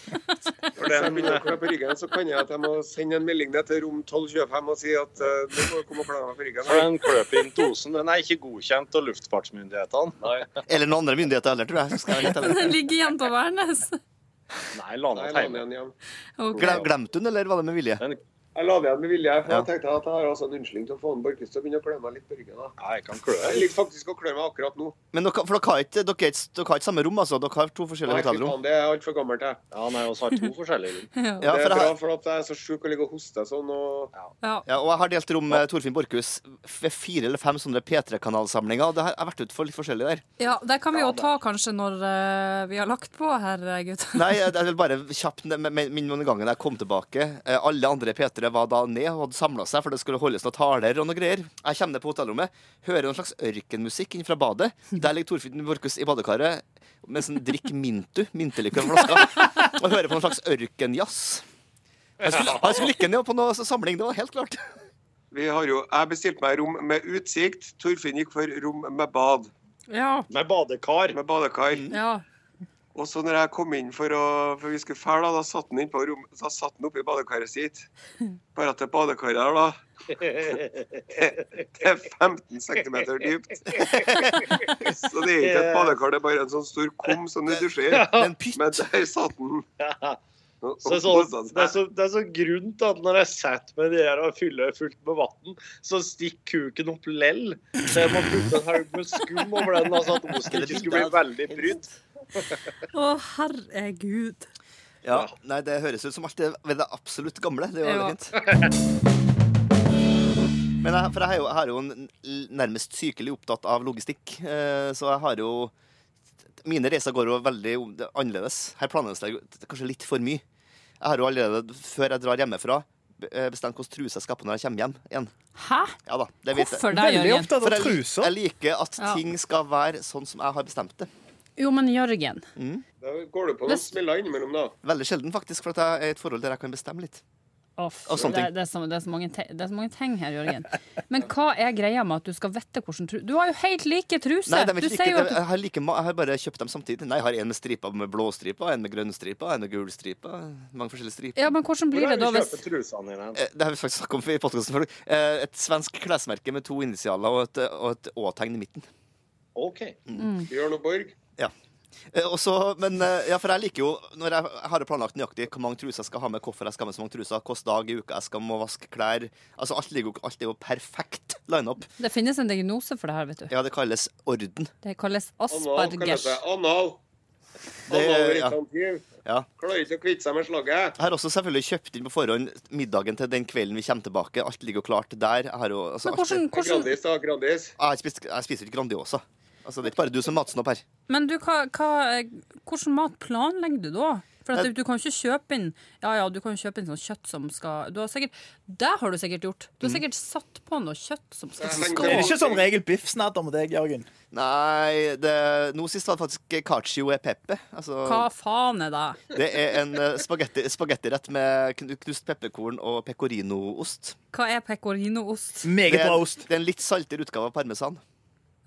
Når jeg begynner å klø på ryggen, så kan jeg at jeg må sende en melding ned til rom 1225 og si at eh, du må komme og klø meg på ryggen. For den kløpintosen den er ikke godkjent av luftfartsmyndighetene. Nei, Eller noen andre myndigheter heller, tror jeg. Så skal jeg være helt ærlig. Den ligger igjen på Værnes. Nei la meg Nei, jeg la den tegne. igjen hjem. OK. Glem, glemte hun, eller var det med vilje? Jeg la den igjen med vilje, for Ja. jeg tenkte at jeg har altså en unnskyldning til å få en Borchhus til å begynne å klø meg litt på ryggen. da. Ja, jeg kan klø. Jeg ligger faktisk og klør meg akkurat nå. Men dere, for dere har, ikke, dere, er ikke, dere har ikke samme rom, altså? Dere har to forskjellige Nei, fy hotellrom? faen, det er altfor gammelt, jeg. Ja, nei, oss har to forskjellige rom. Ja, det for er jeg bra, har, for at jeg er så sjuk og ligger og hoster sånn. og... Ja. ja, og jeg har delt rom med Torfinn Borchhus ved fire eller fem sånne P3-kanalsamlinger. Og det har jeg har vært ute for litt forskjellig der. Ja, det kan vi jo ta kanskje når eh, vi har lagt på her, eh, gutter. Nei, jeg jeg vil bare kjapt ne- men- men- minne om den gangen jeg kom tilbake. Eh, Alle andre P3 var da ned og hadde samla seg, for det skulle holdes noen taler og noe greier. Jeg kommer ned på hotellrommet, hører noen slags ørkenmusikk inn fra badet. Der ligger Torfinn Borchhus i badekaret mens han drikker Mintu, mintelykke og flasker, og hører på noen slags ørkenjazz. Han skulle, han skulle ikke ned på noe altså, samling, det var helt klart. Vi har jo, jeg bestilte meg rom med utsikt. Torfinn gikk for rom med bad. Ja. Med badekar. Med badekar. Mm. ja. Og så når jeg kom inn for å For vi skulle fære, da, da satt han inn på rom, da satt han oppe i badekaret sitt. Bare at det badekaret her, da Det er 15 cm dypt. Så det er ikke et badekar, det er bare en sånn stor kum som du dusjer i. Det er en pytt. Men der satt han. Så det, er sånn, det, er så, det er så grunt at når jeg setter meg i det her og fyller fullt med vann, så stikker kuken opp lell. Så jeg må putte en haug med skum over den, altså at osten ikke skulle bli veldig brydd. Å, herregud. Ja, nei, Det høres ut som alt det ved det absolutt gamle. Det er jo Ja. veldig fint. Men jeg, for jeg er, jo, jeg er jo en nærmest sykelig opptatt av logistikk, eh, så jeg har jo Mine reiser går jo veldig annerledes. Her planlegges det kanskje litt for mye. Jeg har jo allerede, før jeg drar hjemmefra, be- eh, bestemt hvilken truse jeg skal ha på når jeg kommer hjem igjen. Hæ? Ja da, det vet jeg. Hvorfor det, Veldig Jørgen? opptatt For av jeg, jeg truser. liker at Ja. ting skal være sånn som jeg har bestemt det. Jo, men Jørgen. Da går du på noen smeller innimellom, da. Veldig sjelden, faktisk, for at jeg er i et forhold der jeg kan bestemme litt. Å, f- Og sånne det, ting. det, er så, det, er så mange te det er så mange ting her, Jørgen. Men hva er greia med at du skal vite hvordan truse Du har jo helt like truser! Nei, de er du ikke like, sier jo de- at du jeg, har like, ma- jeg har bare kjøpt dem samtidig. Nei, jeg har en med stripa, med blå stripa, en med grønn stripa, en med gul stripa. Mange forskjellige striper. Ja, men hvordan blir det Hvor er da det du hvis kjøper trusene dine? hen? Eh, Det har vi faktisk snakket om i podcasten før. Eh, Et svensk klesmerke med to initialer og et, og et Å-tegn i midten. OK. Mm. Bjørn og Borg. Eh, Og så, men eh, ja, for jeg liker jo Når jeg jeg har jo planlagt nøyaktig hvor mange truser jeg skal ha med, hvorfor jeg skal ha med så mange truser, hvilken dag i uka jeg skal må vaske klær Altså, alt, ligger, jo- alt er jo perfekt lineup. Det finnes en diagnose for det her, vet du. Ja, det kalles orden. Det kalles Anal, kaller aspergers. det. Anal. Det- Analretentiv. Ja. Klarer ikke å kvitte seg med slagget. Jeg har også selvfølgelig kjøpt inn på forhånd middagen til den kvelden vi kommer tilbake. Alt ligger jo klart der. Jeg har jo altså, Men alt er- hvordan, hvordan Grandis, da. Grandis. Ah, Jeg, spiste- jeg spiser ikke Grandiosa. Altså, det er ikke bare du som er matsnobb her. Men du, hva, hva, hvordan mat planlegger du da? For at du kan jo ikke kjøpe inn Ja, ja, du kan jo kjøpe inn sånn kjøtt som skal du har sikkert, Det har du sikkert gjort. Du har Mm. sikkert satt på noe kjøtt som skal Jeg Er tenker- det ikke sånn- som regel biffsnadder med deg, Jørgen? Nei, det, nå sist var det faktisk cacio e pepe. Altså, Hva faen er det? Det er en eh, spagetti- spagettirett med knu- knust pepperkorn og pecorino-ost. Hva er pecorino-ost? Det, Meget er- bra ost. det er en litt saltere utgave av parmesan.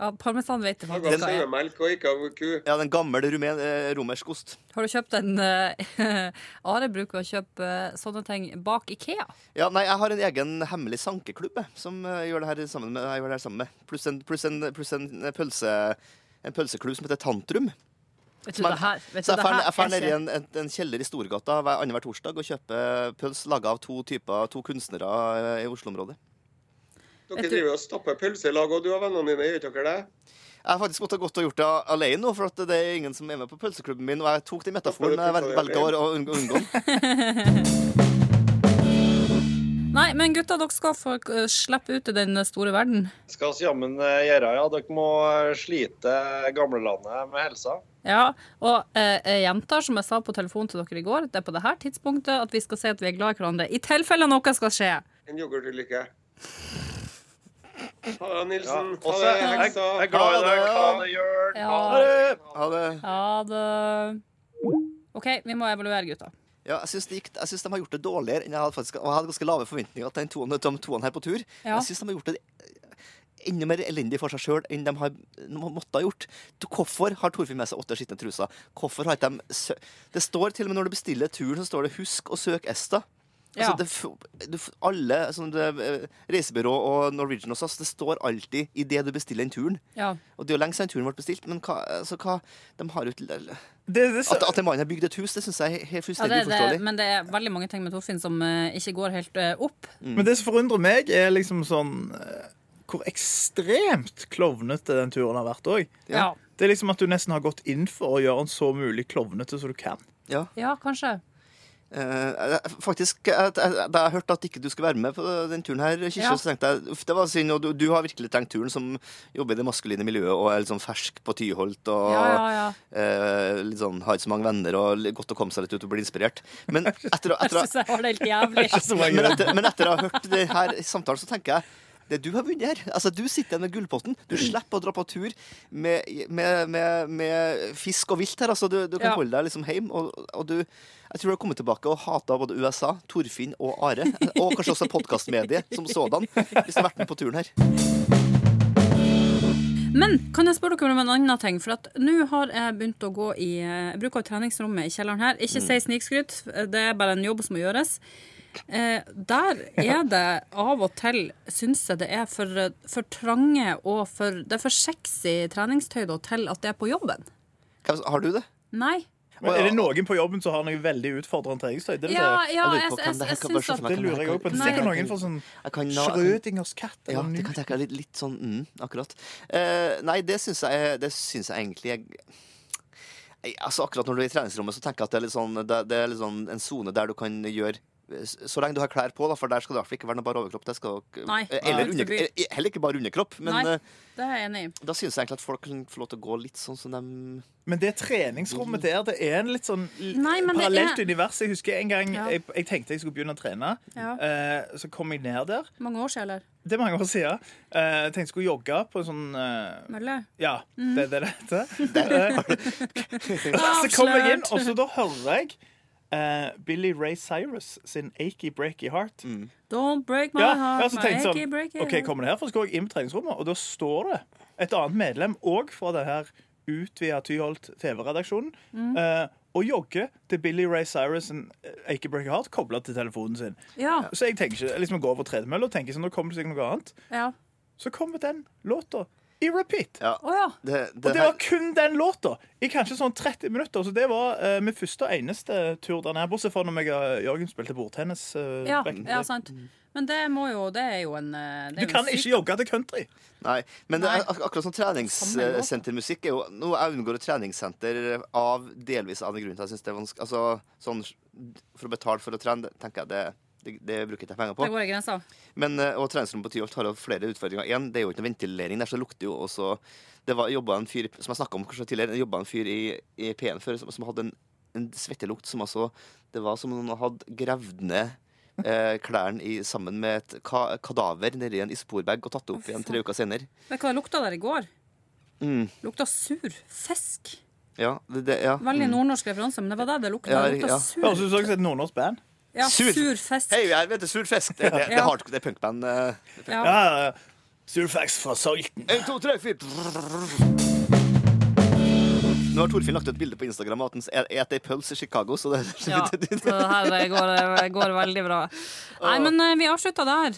Ja, Parmesan vet jeg Jeg faktisk Ga hva er. sauemelk og ikke av ku. Ja, den gamle rumen, eh, romersk ost. Har du kjøpt en eh, Are bruker å kjøpe eh, sånne ting bak Ikea. Ja, nei, jeg har en egen hemmelig sankeklubb jeg, som eh, gjør det her sammen med. Jeg gjør det her sammen med. Pluss en, pluss en, pluss en pølse... En pølseklubb som heter Tantrum. Vet du det her? Vet Så jeg du, det drar her ned i er ikke en, en, en kjeller i Storgata hver annenhver torsdag og kjøper pøls laga av to typer, to kunstnere eh, i Oslo-området. Dere Vet du- driver og stapper pølser i lag, og du og vennene dine, gjør dere det? Jeg har faktisk måttet gått og gjort det alene nå, for at det er ingen som er med på pølseklubben min. Og jeg tok den metaforen, men jeg vel- velger å unngå unngå den. Nei, men gutta, dere skal få eh, slippe ut i den store verden. Skal vi jammen eh, gjøre, ja. Dere må eh, slite gamlelandet med helsa. Ja, og eh, jeg gjentar som jeg sa på telefonen til dere i går, det er på det her tidspunktet at vi skal si at vi er glad i hverandre, i tilfelle noe skal skje. En yoghurtulykke. Ha det, Ja. Nilsen. Også, Ha det, jeg, heksa. jeg er glad i deg. Ha det, Jørn. Ja. Ha det. Ha det. Ja, det... OK, vi må evaluere, gutta. Ja, jeg syns, det gikk, jeg syns de har gjort det dårligere enn jeg hadde faktisk, og jeg hadde ganske lave forventninger til den toen, de toen her på tur. Ja. Jeg syns de har gjort det eh, enda mer elendig for seg sjøl enn de har må- måtte ha gjort. Du, hvorfor har Torfinn med seg åtte skitne truser? Hvorfor har ikke de sø Det står til og med når du bestiller turen, så står det 'husk å søke Esta'. Ja. Altså, det, f- du, f- alle sånn, det, eh, reisebyrå og Norwegian og SAS, det står alltid i det du bestiller den turen. Ja. Og det er jo lenge siden turen ble bestilt, men hva, altså, hva De har jo ikke Det, det, At, at en mann har bygd et hus, det syns jeg er helt Ja, fullstendig det, det, uforståelig. men det er veldig mange ting med Torfinn som eh, ikke går helt eh, opp. Mm. Men det som forundrer meg, er liksom sånn eh, Hvor ekstremt klovnete den turen har vært òg. Ja. Det er liksom at du nesten har gått inn for å gjøre den så mulig klovnete som du kan. Ja. Ja, kanskje. Eh, jeg- faktisk, jeg- jeg- da jeg hørte at ikke du skulle være med på den turen her, Kirsti, Ja. så tenkte jeg uff, det var synd. Og du, du har virkelig trengt turen som jobber i det maskuline miljøet og er litt sånn fersk på Tyholt og Ja, ja, ja. eh, litt sånn, har ikke så mange venner og litt godt å komme seg litt ut og bli inspirert. Men etter, å- Jeg etter, å- syns jeg har det helt jævlig. men, etter, men etter å ha hørt det her i samtalen, så tenker jeg det du har vunnet her. Altså, Du sitter igjen med gullpotten. Du slipper å dra på tur med, med, med, med fisk og vilt her. altså. Du, du kan Ja. holde deg liksom hjem. Og, og du, jeg tror du har kommet tilbake og hata både USA, Torfinn og Are. Og kanskje også podkastmediet som sådan, hvis du har vært med på turen her. Men kan jeg spørre dere om en annen ting? For at nå har jeg begynt å gå i eh, Jeg bruker jo treningsrommet i kjelleren her. Ikke si snikskryt, det er bare en jobb som må gjøres. Eh, der er det av og til, syns jeg det er for, eh, for trange og for Det er for sexy treningstøy da, til at det er på jobben. Hvem- Har du det? Nei. Men er det noen på jobben som har noe veldig utfordrende treningstøy? Det, er det Ja, det. ja, lurer jeg, på jeg, hvem jeg, det her kan syns være at som er- det lurer jeg òg på. Det er Nei. sikkert noen for sånn Jeg kan la- Schrødingers katt. Ja, Eller det nu. kan tenke litt, litt sånn mm, akkurat. Eh, nei, det syns jeg, det syns jeg egentlig jeg, Nei, altså Akkurat når du er i treningsrommet, så tenker jeg at det er litt sånn, det, det er litt sånn en sone der du kan gjøre eh, så lenge du har klær på, da, for der skal det i hvert fall ikke være noe bar overkropp. Det skal, Nei, eller Gud under, forby. eh, heller ikke bare underkropp. Men Nei. eh, Det er jeg enig i. da syns jeg egentlig at folk kan få lov til å gå litt sånn som de Men det treningsrommet der, det er en litt sånn l- Nei, men det parallelt er- univers. Jeg husker en gang Ja. jeg, jeg tenkte jeg skulle begynne å trene. Ja. Eh, så kom jeg ned der. Mange år siden, eller? Det er mange år siden. Eh, tenkte jeg skulle jogge på en sånn eh, Mølle? Ja, det er det det heter. Eh, så kom jeg inn, og så da hører jeg eh, Billy Ray Cyrus sin Achy Breaky Heart. Don't break my Ja, heart, ja, så my tenkte jeg achy breaky sånn OK, heart. kommer det her? For så går jeg inn på treningsrommet, og da står det et annet medlem òg fra det her utvida Tyholt TV-redaksjonen. Mm. eh, og jogger til Billy Ray Cyrus and Achy Breaky Heart kobla til telefonen sin. Ja, Så jeg tenker ikke, liksom jeg går over tredemølla og tenker sånn, nå kommer det sikkert noe annet. ja. Så kommer den låta i repeat. Å ja. Det, Og det det her, var kun den låta i kanskje sånn 30 minutter. Så det var eh, min første og eneste tur der nede, bortsett fra når meg og Jørgen spilte bordtennis. eh, Ja, back in the ja, day. sant. Men det må jo Det er jo en eh, det er Du jo kan en syk- ikke jogge til country. nei, men det Nei. er ak akkurat som Samme låt. treningssentermusikk er jo Nå jeg unngår treningssenter av delvis av den grunnen til jeg syns det er vanskelig. Altså, sånn, for å betale for å trene, det tenker jeg det, det, det bruker jeg ikke penger på. Det går i grensa. Men, eh, og treningsrommet på Tyholt har jo flere utfordringer. En, det er jo ikke noe ventilering der, så det lukter jo også Det var jobba en fyr som jeg snakket om kanskje tidligere, det jobbet en fyr i, i P1 før som, som hadde en, en svettelukt som altså Det var som om noen hadde gravd ned eh, klærne i, sammen med et ka kadaver nedi en isporbag og tatt det opp igjen tre uker senere. Vet du hva det lukta der i går? Mm. Lukta sur fisk. Ja, det, det, ja. Veldig mm. nordnorsk referanse, men det var det det lukta. Ja, det lukta ja. Høres sur, ut som et nordnorsk band. ja, Sur. sur fisk. Hei, jeg vet det, sur fisk! Det, det, det, er Ja. hard- det er punkband. eh. Ja. Ja, Surfax fra Salten. En, to, tre, fire. Nå har Torfinn lagt ut et bilde på Instagram av at han spiser ei pølse i Chicago. Så det, Ja, så det her eh, går, eh, går veldig bra. Nei, men eh, vi avslutta der.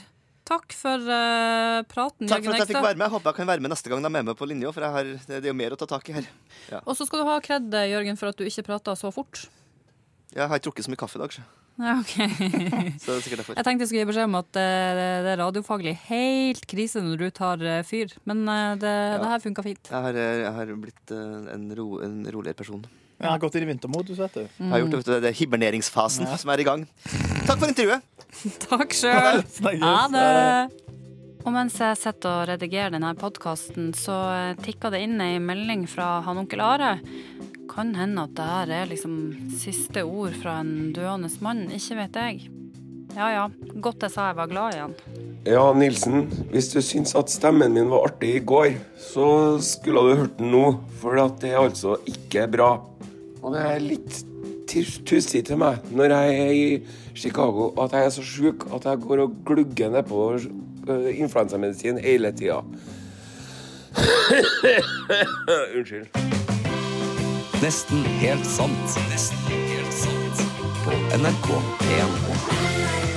Takk for eh, praten, Takk for Jørgen at jeg fikk Ekstad. være med. Jeg håper jeg kan være med neste gang de er med meg på linja, for jeg har, det er jo mer å ta tak i her. Og så skal du ha kred, Jørgen, for at du ikke prata så fort. Jeg har ikke drukket så mye kaffe i dag, så Ja, ok. Jeg så det er sikkert derfor. tenkte jeg skulle gi beskjed om at eh, det er radiofaglig helt krise når du tar eh, fyr, men eh, det, det her funka fint. Jeg har, eh, jeg har blitt eh, en, ro, en roligere person. Jeg har gått inn i vintermodus, vet du. Jeg har gjort det, vet du, det er hiberneringsfasen som er i gang. Takk for intervjuet. Takk sjøl! Snakkes. Ha det! Og mens jeg sitter og redigerer denne podkasten, så eh, tikker det inn ei melding fra han onkel Are. Kan hende at det her er liksom siste ord fra en døende mann, ikke vet jeg. Ja ja, godt jeg sa jeg var glad i han. Ja, Nilsen, hvis du syns at stemmen min var artig i går, så skulle du hørt den nå, for at det er altså ikke bra. Og det er litt tus- tussig til meg når jeg er i Chicago at jeg er så sjuk at jeg går og glugger nedpå øh, influensamedisin hele tida. Unnskyld. Nesten helt sant. Nesten helt sant. På NRK1.